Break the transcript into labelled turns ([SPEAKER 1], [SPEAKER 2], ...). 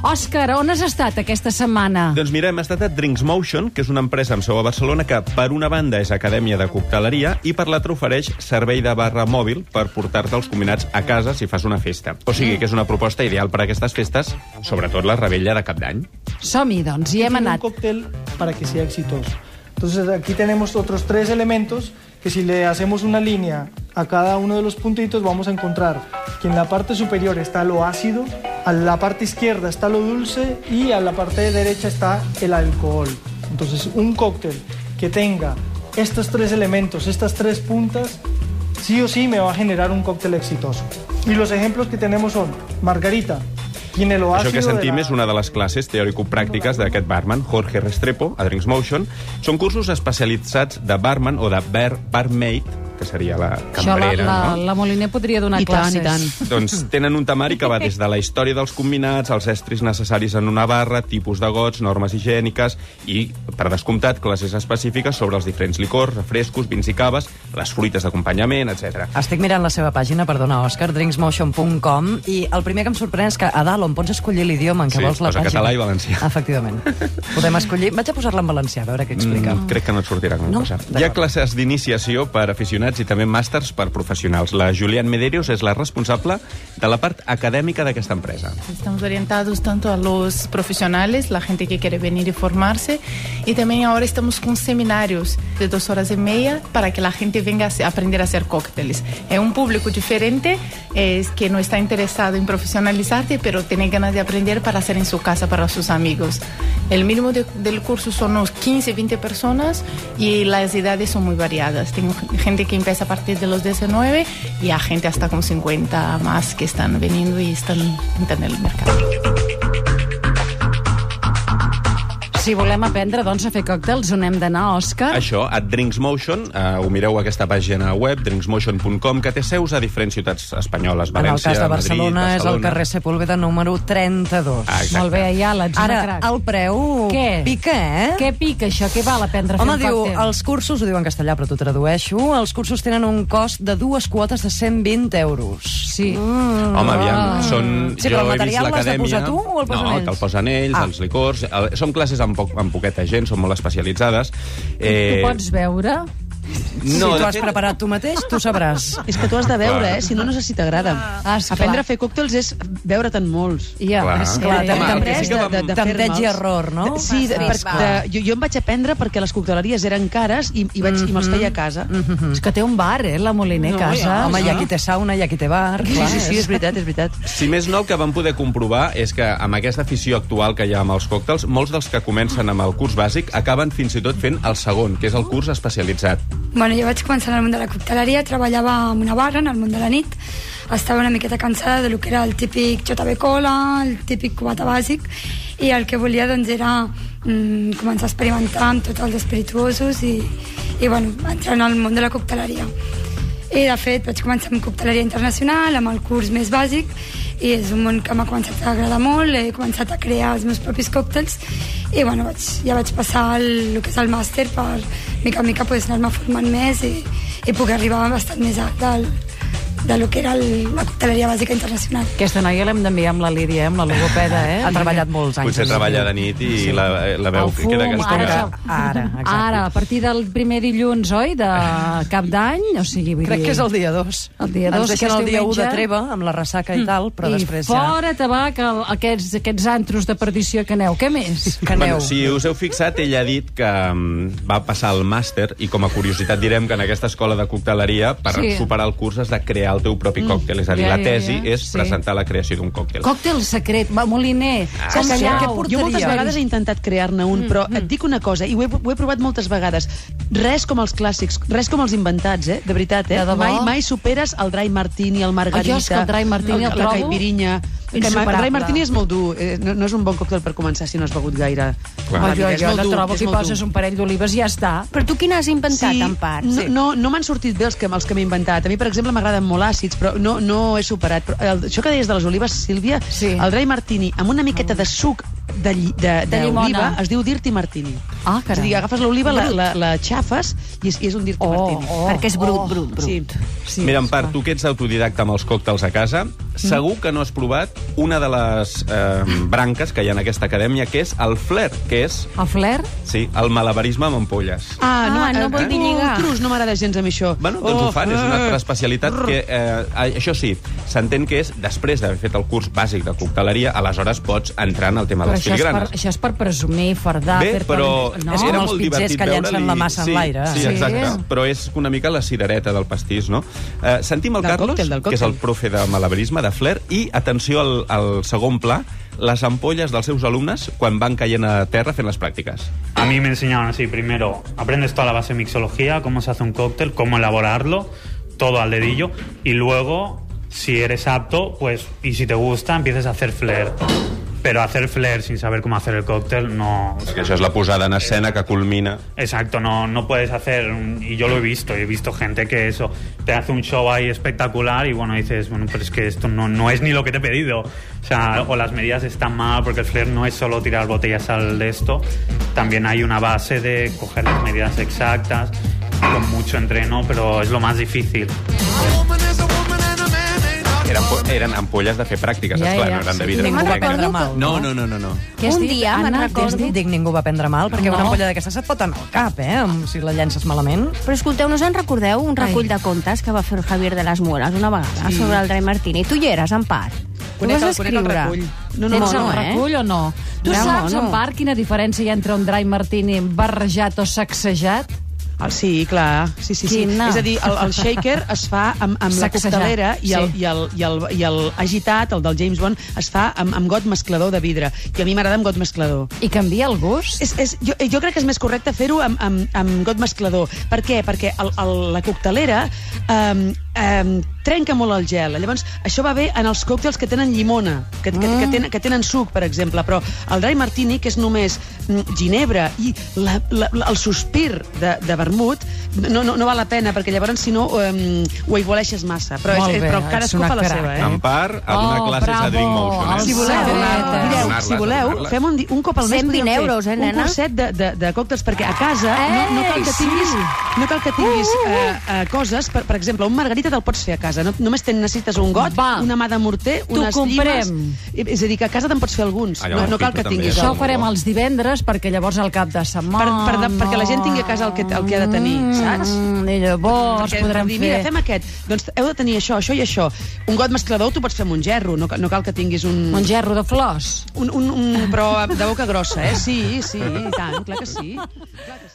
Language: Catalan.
[SPEAKER 1] Òscar, on has estat aquesta setmana?
[SPEAKER 2] Doncs mira, hem estat a Drinks Motion, que és una empresa amb seu a Barcelona que, per una banda, és acadèmia de cocteleria i per l'altra ofereix servei de barra mòbil per portar-te els combinats a casa si fas una festa. O sigui que és una proposta ideal per a aquestes festes, sobretot la rebella de cap d'any.
[SPEAKER 1] Som-hi, doncs, hi hem
[SPEAKER 3] tiene
[SPEAKER 1] anat.
[SPEAKER 3] un cóctel para que sea exitoso. Entonces aquí tenemos otros tres elementos que si le hacemos una línea a cada uno de los puntitos vamos a encontrar que en la parte superior está lo ácido, a la parte izquierda está lo dulce y a la parte derecha está el alcohol. Entonces un cóctel que tenga estos tres elementos, estas tres puntas, sí o sí me va a generar un cóctel exitoso. Y los ejemplos que tenemos son margarita, tiene lo
[SPEAKER 2] Això
[SPEAKER 3] ácido
[SPEAKER 2] que
[SPEAKER 3] de
[SPEAKER 2] sentim
[SPEAKER 3] la-
[SPEAKER 2] és una de les classes teòrico-pràctiques d'aquest barman, Jorge Restrepo, a Drinks Motion. Són cursos especialitzats de barman o de bar barmaid, que seria la
[SPEAKER 1] Això la,
[SPEAKER 2] cambrera,
[SPEAKER 1] la,
[SPEAKER 2] no?
[SPEAKER 1] la Moliner podria donar
[SPEAKER 4] I tant,
[SPEAKER 1] classes.
[SPEAKER 4] i tant.
[SPEAKER 2] Doncs tenen un temari que va des de la història dels combinats, els estris necessaris en una barra, tipus de gots, normes higièniques i, per descomptat, classes específiques sobre els diferents licors, refrescos, vins i caves, les fruites d'acompanyament, etc.
[SPEAKER 5] Estic mirant la seva pàgina, perdona, Òscar, drinksmotion.com, i el primer que em sorprèn és que a dalt, on pots escollir l'idioma en què
[SPEAKER 2] Sí,
[SPEAKER 5] vols la
[SPEAKER 2] posa
[SPEAKER 5] pàgina...
[SPEAKER 2] català i valencià.
[SPEAKER 5] Efectivament. Podem escollir... Vaig a posar-la en valencià, a veure què explica.
[SPEAKER 2] Mm, crec que no et sortirà com
[SPEAKER 5] No?
[SPEAKER 2] cosa. Hi ha
[SPEAKER 5] D'acord.
[SPEAKER 2] classes d'iniciació per aficionats i també màsters per professionals. La Julián Medeiros és la responsable de la part acadèmica d'aquesta empresa.
[SPEAKER 6] Estamos orientados tanto a los profesionales, la gente que quiere venir y formarse, y también ahora estamos con seminarios de dos horas y media para que la gente venga a se- aprender a hacer cócteles. Es un público diferente, es que no está interesado en profesionalizarte, pero tiene ganas de aprender para hacer en su casa para sus amigos. El mínimo de- del curso son unos 15, 20 personas y las edades son muy variadas. Tengo gente que empieza a partir de los 19 y a gente hasta con 50 más que están veniendo y están entrando en el mercado.
[SPEAKER 1] Si volem aprendre, doncs, a fer còctels, on hem d'anar,
[SPEAKER 5] Ah.
[SPEAKER 1] Òscar?
[SPEAKER 2] Això, a Drinks Motion, eh, ho mireu a aquesta pàgina web, drinksmotion.com, que té seus a diferents ciutats espanyoles,
[SPEAKER 5] En el
[SPEAKER 2] València,
[SPEAKER 5] cas de
[SPEAKER 2] Madrid,
[SPEAKER 5] Barcelona,
[SPEAKER 2] Barcelona...
[SPEAKER 5] és el carrer Sepúlveda número 32.
[SPEAKER 2] Ah, exacte.
[SPEAKER 1] Molt bé, Ayala, ets
[SPEAKER 5] Ara,
[SPEAKER 1] una crac.
[SPEAKER 5] el preu
[SPEAKER 1] Què?
[SPEAKER 5] pica, eh?
[SPEAKER 1] Què pica, això? Què val aprendre a fer
[SPEAKER 5] Home,
[SPEAKER 1] un
[SPEAKER 5] diu,
[SPEAKER 1] còctel?
[SPEAKER 5] els cursos, ho diu en castellà, però t'ho tradueixo, els cursos tenen un cost de dues quotes de 120 euros. Ah.
[SPEAKER 1] Sí.
[SPEAKER 4] Mm.
[SPEAKER 2] Home, aviam, són...
[SPEAKER 5] Sí, però
[SPEAKER 2] jo he vist
[SPEAKER 5] el material l'has de
[SPEAKER 2] l'acadèmia-
[SPEAKER 5] posar tu o el posen
[SPEAKER 2] no,
[SPEAKER 5] ells?
[SPEAKER 2] te'l posen ells,
[SPEAKER 5] Ah.
[SPEAKER 2] els licors... El, són classes amb, poc, amb poqueta gent, són molt especialitzades.
[SPEAKER 1] Tu
[SPEAKER 2] Eh,
[SPEAKER 1] pots veure?
[SPEAKER 5] No, si
[SPEAKER 2] de
[SPEAKER 5] tu has
[SPEAKER 2] fet-
[SPEAKER 5] preparat tu mateix, tu sabràs.
[SPEAKER 4] És que tu has de veure,
[SPEAKER 2] Clar.
[SPEAKER 4] eh? Si no, no sé si t'agrada.
[SPEAKER 1] Ah, esclar.
[SPEAKER 4] Aprendre a fer còctels és veure-te'n molts.
[SPEAKER 1] Ja,
[SPEAKER 2] Clar.
[SPEAKER 1] és
[SPEAKER 5] Clar,
[SPEAKER 1] que...
[SPEAKER 5] també-
[SPEAKER 2] Home, el que
[SPEAKER 5] també
[SPEAKER 2] sí que
[SPEAKER 4] de-
[SPEAKER 2] vam-
[SPEAKER 4] de- de fer-me'ls.
[SPEAKER 5] Tempteig i error, no?
[SPEAKER 4] Sí, de, per,
[SPEAKER 5] Va.
[SPEAKER 4] de, jo, jo em vaig aprendre perquè les cocteleries eren cares i, i, vaig, mm -hmm. i me'ls
[SPEAKER 5] Mm-hmm.
[SPEAKER 4] feia a casa. Mm -hmm.
[SPEAKER 1] És que té un bar, eh, la Moliner,
[SPEAKER 4] No,
[SPEAKER 1] casa.
[SPEAKER 4] ja.
[SPEAKER 5] Home,
[SPEAKER 4] Ah.
[SPEAKER 5] hi ha qui té sauna, hi ha qui té bar.
[SPEAKER 4] Sí,
[SPEAKER 5] clar,
[SPEAKER 4] sí, sí, és veritat, és veritat.
[SPEAKER 2] Si més no, el que vam poder comprovar és que amb aquesta afició actual que hi ha amb els còctels, molts dels que comencen amb el curs bàsic acaben fins i tot fent el segon, que és el curs especialitzat.
[SPEAKER 7] Bueno, jo vaig començar en el món de la cocteleria, treballava en una barra, en el món de la nit, estava una miqueta cansada de lo que era el típic JB Cola, el típic cubata bàsic, i el que volia doncs, era mm, començar a experimentar amb tots els espirituosos i, i bueno, entrar en el món de la cocteleria. I, de fet, vaig començar amb cocteleria internacional, amb el curs més bàsic, i és un món que m'ha començat a agradar molt, he començat a crear els meus propis còctels, i, bueno, vaig, ja vaig passar el, el que és el màster per, mica en mica, pues, anar-me formant més i, i poder arribar bastant més a, del, de lo que era el, la cocteleria bàsica internacional.
[SPEAKER 1] Aquesta noia l'hem d'enviar amb la Lídia, eh, amb la logopeda, eh?
[SPEAKER 5] Han treballat molts anys.
[SPEAKER 2] Potser treballa de nit i la, la veu
[SPEAKER 1] El
[SPEAKER 2] que queda
[SPEAKER 1] fum,
[SPEAKER 2] castigada.
[SPEAKER 1] ara,
[SPEAKER 5] Ara, exacte.
[SPEAKER 1] Ara, a partir del primer dilluns, oi, de cap d'any, o sigui, vull
[SPEAKER 5] Crec
[SPEAKER 1] dir...
[SPEAKER 5] que és el dia 2.
[SPEAKER 1] El dia dos,
[SPEAKER 5] Ens deixen
[SPEAKER 1] que és
[SPEAKER 5] el dia 1
[SPEAKER 1] diumenge.
[SPEAKER 5] de treva, amb la ressaca i tal, però
[SPEAKER 1] I
[SPEAKER 5] després ja...
[SPEAKER 1] fora tabac el, aquests, aquests antros de perdició que aneu. Què més?
[SPEAKER 5] Que aneu.
[SPEAKER 2] Bueno, si us heu fixat, ella ha dit que mm, va passar el màster i com a curiositat direm que en aquesta escola de cocteleria per
[SPEAKER 1] Sí. Mm.
[SPEAKER 2] superar el curs has de crear el teu propi còctel. És a dir,
[SPEAKER 1] Ja,
[SPEAKER 2] la
[SPEAKER 1] ja,
[SPEAKER 2] tesi
[SPEAKER 1] ja.
[SPEAKER 2] és
[SPEAKER 1] Sí.
[SPEAKER 2] presentar la creació d'un còctel.
[SPEAKER 1] Còctel secret, va, Moliner.
[SPEAKER 2] Ah,
[SPEAKER 1] callao.
[SPEAKER 5] Com serà? Què
[SPEAKER 4] Jo moltes
[SPEAKER 5] portaria?
[SPEAKER 4] vegades he intentat crear-ne
[SPEAKER 1] Mm,
[SPEAKER 4] un, però et dic una cosa, i ho he, ho he provat moltes vegades, res com els clàssics, res com els inventats, eh? de veritat, eh?
[SPEAKER 1] De debò?
[SPEAKER 4] mai, mai superes el dry martini, el margarita,
[SPEAKER 1] Oh, jo és que el dry martini el
[SPEAKER 4] la
[SPEAKER 1] trobo
[SPEAKER 4] caipirinha... Que El
[SPEAKER 1] insuperable.
[SPEAKER 4] dry martini és molt dur, eh, no, no és un bon còctel per començar si no has begut gaire.
[SPEAKER 1] Oh,
[SPEAKER 2] Clar.
[SPEAKER 4] Va,
[SPEAKER 1] jo,
[SPEAKER 4] és
[SPEAKER 1] jo
[SPEAKER 4] molt
[SPEAKER 1] la
[SPEAKER 4] dur,
[SPEAKER 1] trobo
[SPEAKER 4] és
[SPEAKER 1] que hi
[SPEAKER 4] molt
[SPEAKER 1] poses
[SPEAKER 4] dur.
[SPEAKER 1] un parell d'olives i ja està.
[SPEAKER 8] Però tu quin has inventat, en part?
[SPEAKER 4] No, no, no m'han sortit bé els que, els que m'he inventat. A mi, per exemple, m'agraden molt àcids, però no, no he superat. Però el, això que deies de les olives, Sílvia,
[SPEAKER 1] Sí.
[SPEAKER 4] el dry martini amb una miqueta de suc de, lli- de,
[SPEAKER 1] De
[SPEAKER 4] de,
[SPEAKER 1] llimona.
[SPEAKER 4] oliva es diu dirty martini.
[SPEAKER 1] Ah,
[SPEAKER 4] És a
[SPEAKER 1] caram.
[SPEAKER 4] dir, agafes l'oliva, la, la, la xafes i és, i és un
[SPEAKER 8] Oh,
[SPEAKER 4] dirty martini. Oh,
[SPEAKER 8] Perquè és brut, brut, brut.
[SPEAKER 4] Sí.
[SPEAKER 2] Mira, en part, tu que ets autodidacta amb els còctels a casa,
[SPEAKER 1] Mm.
[SPEAKER 2] Segur que no has provat una de les eh, branques que hi ha en aquesta acadèmia, que és el flair, que és,
[SPEAKER 1] El flair?
[SPEAKER 2] sí, el malabarisme amb ampolles.
[SPEAKER 4] Ah, no,
[SPEAKER 8] Ah, no
[SPEAKER 4] eh,
[SPEAKER 8] vol dir
[SPEAKER 4] eh?
[SPEAKER 8] lligar.
[SPEAKER 4] Trus, no m'agrada gens a mi això.
[SPEAKER 2] Bueno, doncs oh, ho fan, és una altra
[SPEAKER 4] eh.
[SPEAKER 2] especialitat que, eh, a- això sí, s'entén que és després d'haver fet el curs bàsic de cocteleria, aleshores pots entrar en el tema de les
[SPEAKER 1] això és, per,
[SPEAKER 2] filigranes.
[SPEAKER 1] això és per presumir, fardar...
[SPEAKER 2] Bé,
[SPEAKER 1] fer-te
[SPEAKER 2] però
[SPEAKER 1] un- No?
[SPEAKER 5] És
[SPEAKER 2] era
[SPEAKER 5] com els
[SPEAKER 2] molt
[SPEAKER 5] pizzers
[SPEAKER 2] divertit
[SPEAKER 5] que llancen
[SPEAKER 2] veure-li-
[SPEAKER 5] la massa en
[SPEAKER 2] sí,
[SPEAKER 5] l'aire.
[SPEAKER 2] Sí,
[SPEAKER 1] Sí.
[SPEAKER 2] exacte. Però és una mica la cirereta del pastís, no? Eh, sentim el
[SPEAKER 4] Del
[SPEAKER 2] Carlos,
[SPEAKER 4] còctel, del
[SPEAKER 2] que és el
[SPEAKER 4] còctel.
[SPEAKER 2] profe de malabarisme, de flair, i atenció al, al segon pla, les ampolles dels seus alumnes quan van caient a terra fent les pràctiques.
[SPEAKER 9] A mí me enseñaron así, primero aprendes toda la base de mixología, cómo se hace un cóctel, cómo elaborarlo, todo al dedillo, y luego, si eres apto, pues, y si te gusta, empiezas a hacer flair. Pero hacer flair sin saber cómo hacer el cóctel, no...
[SPEAKER 2] Perquè això és la posada en escena que culmina...
[SPEAKER 9] Exacto, no, no puedes hacer, un- y yo lo he visto, he visto gente que eso, te hace un show ahí espectacular y bueno, dices, bueno, pero es que esto no, no es ni lo que te he pedido. O sea, o las medidas están mal, porque el flair no es solo tirar botellas al de esto, también hay una base de coger las medidas exactas, con mucho entreno, pero es lo más difícil.
[SPEAKER 2] Eren, po- eren ampolles de fer pràctiques,
[SPEAKER 1] Ja,
[SPEAKER 2] esclar,
[SPEAKER 1] ja.
[SPEAKER 2] no eren de vidre.
[SPEAKER 5] Ningú
[SPEAKER 8] me'n
[SPEAKER 5] va
[SPEAKER 8] recordo
[SPEAKER 5] prendre
[SPEAKER 8] que-
[SPEAKER 5] mal.
[SPEAKER 2] No, no, no, no, no.
[SPEAKER 1] Què has
[SPEAKER 8] Un
[SPEAKER 1] dit,
[SPEAKER 8] dia me'n
[SPEAKER 1] Anna?
[SPEAKER 8] recordo.
[SPEAKER 1] Què has dit?
[SPEAKER 5] Dic, ningú va prendre mal, perquè una
[SPEAKER 1] No.
[SPEAKER 5] ampolla d'aquestes et pot anar al cap, eh? Si la llences malament.
[SPEAKER 8] Però escolteu, no us en recordeu un recull de contes que va fer el Javier de les Muelas una vegada sí. sobre el rei Martínez? Tu hi eres, en part.
[SPEAKER 4] Conec
[SPEAKER 8] tu
[SPEAKER 4] el-
[SPEAKER 8] vas
[SPEAKER 4] conec el
[SPEAKER 8] escriure.
[SPEAKER 4] recull. No, no,
[SPEAKER 1] Tens
[SPEAKER 4] no, eh?
[SPEAKER 1] el
[SPEAKER 4] no,
[SPEAKER 1] recull o no? Tu
[SPEAKER 8] No,
[SPEAKER 1] saps,
[SPEAKER 8] no.
[SPEAKER 1] en part, quina diferència hi ha entre un dry martini barrejat o sacsejat?
[SPEAKER 4] Ah, sí, clar. Sí, sí, sí.
[SPEAKER 1] Quina.
[SPEAKER 4] És a dir, el, el shaker es fa amb, amb la
[SPEAKER 1] Sacsejat,
[SPEAKER 4] coctelera i el,
[SPEAKER 1] sí.
[SPEAKER 4] i, el, i, el, i el agitat, el del James Bond, es fa amb, amb got mesclador de vidre. I a mi m'agrada amb got mesclador.
[SPEAKER 1] I canvia el gust?
[SPEAKER 4] És, és, jo, jo crec que és més correcte fer-ho amb, amb, amb got mesclador. Per què? Perquè el, el, la coctelera um, um, trenca molt el gel. Llavors, això va bé en els còctels que tenen llimona, que, que,
[SPEAKER 5] Mm.
[SPEAKER 4] que, tenen, que tenen suc, per exemple. Però el dry martini, que és només mm, ginebra i la, la, la, el sospir de, de vermut, no, no, no val la pena, perquè llavors, si no, um, ho aigualeixes massa. Però,
[SPEAKER 5] Molt
[SPEAKER 4] és, eh,
[SPEAKER 5] bé,
[SPEAKER 4] però
[SPEAKER 5] ets
[SPEAKER 4] cadascú
[SPEAKER 5] una
[SPEAKER 4] fa la
[SPEAKER 5] crac,
[SPEAKER 4] seva, eh?
[SPEAKER 2] En part, a donar
[SPEAKER 1] Oh,
[SPEAKER 2] classes a
[SPEAKER 1] bravo, Ah,
[SPEAKER 2] Drink Motion. Eh?
[SPEAKER 1] el
[SPEAKER 4] Si voleu,
[SPEAKER 1] Sabetes.
[SPEAKER 4] mireu, si voleu,
[SPEAKER 2] Donar-les.
[SPEAKER 4] fem un, di- un cop al mes
[SPEAKER 8] 120
[SPEAKER 4] podríem fer
[SPEAKER 8] euros, eh,
[SPEAKER 4] un
[SPEAKER 8] nena?
[SPEAKER 4] curset de, de, de còctels, perquè a casa no, no cal que
[SPEAKER 1] Ei,
[SPEAKER 4] tinguis,
[SPEAKER 1] sí.
[SPEAKER 4] no cal que tinguis uh, uh, coses, per, per exemple, un margarita te'l pots fer a casa, no, només ten, necessites un got,
[SPEAKER 1] Va.
[SPEAKER 4] una mà de morter,
[SPEAKER 1] T'ho
[SPEAKER 4] unes llimes...
[SPEAKER 1] comprem.
[SPEAKER 4] I- És a dir, que a casa te'n pots fer alguns,
[SPEAKER 2] Allà
[SPEAKER 4] no,
[SPEAKER 2] al
[SPEAKER 4] no cal
[SPEAKER 2] Pitu
[SPEAKER 4] que
[SPEAKER 2] també
[SPEAKER 4] tinguis
[SPEAKER 2] és
[SPEAKER 1] Això ho
[SPEAKER 2] molt
[SPEAKER 4] el...
[SPEAKER 1] farem els divendres perquè llavors al cap de
[SPEAKER 4] Per,
[SPEAKER 1] setmana...
[SPEAKER 4] per, de, perquè la gent tingui a casa el que, el que ha de tenir, saps?
[SPEAKER 1] Mm, I llavors
[SPEAKER 4] Perquè
[SPEAKER 1] podrem
[SPEAKER 4] dir,
[SPEAKER 1] fer...
[SPEAKER 4] Mira, fem aquest. Doncs heu de tenir això, això i això. Un got mesclador tu pots fer amb un gerro, no, ca- no cal que tinguis un...
[SPEAKER 1] Un gerro de flors.
[SPEAKER 4] Un, un, un, però de boca grossa, eh? Sí, sí, i tant, clar que sí. Clar que sí.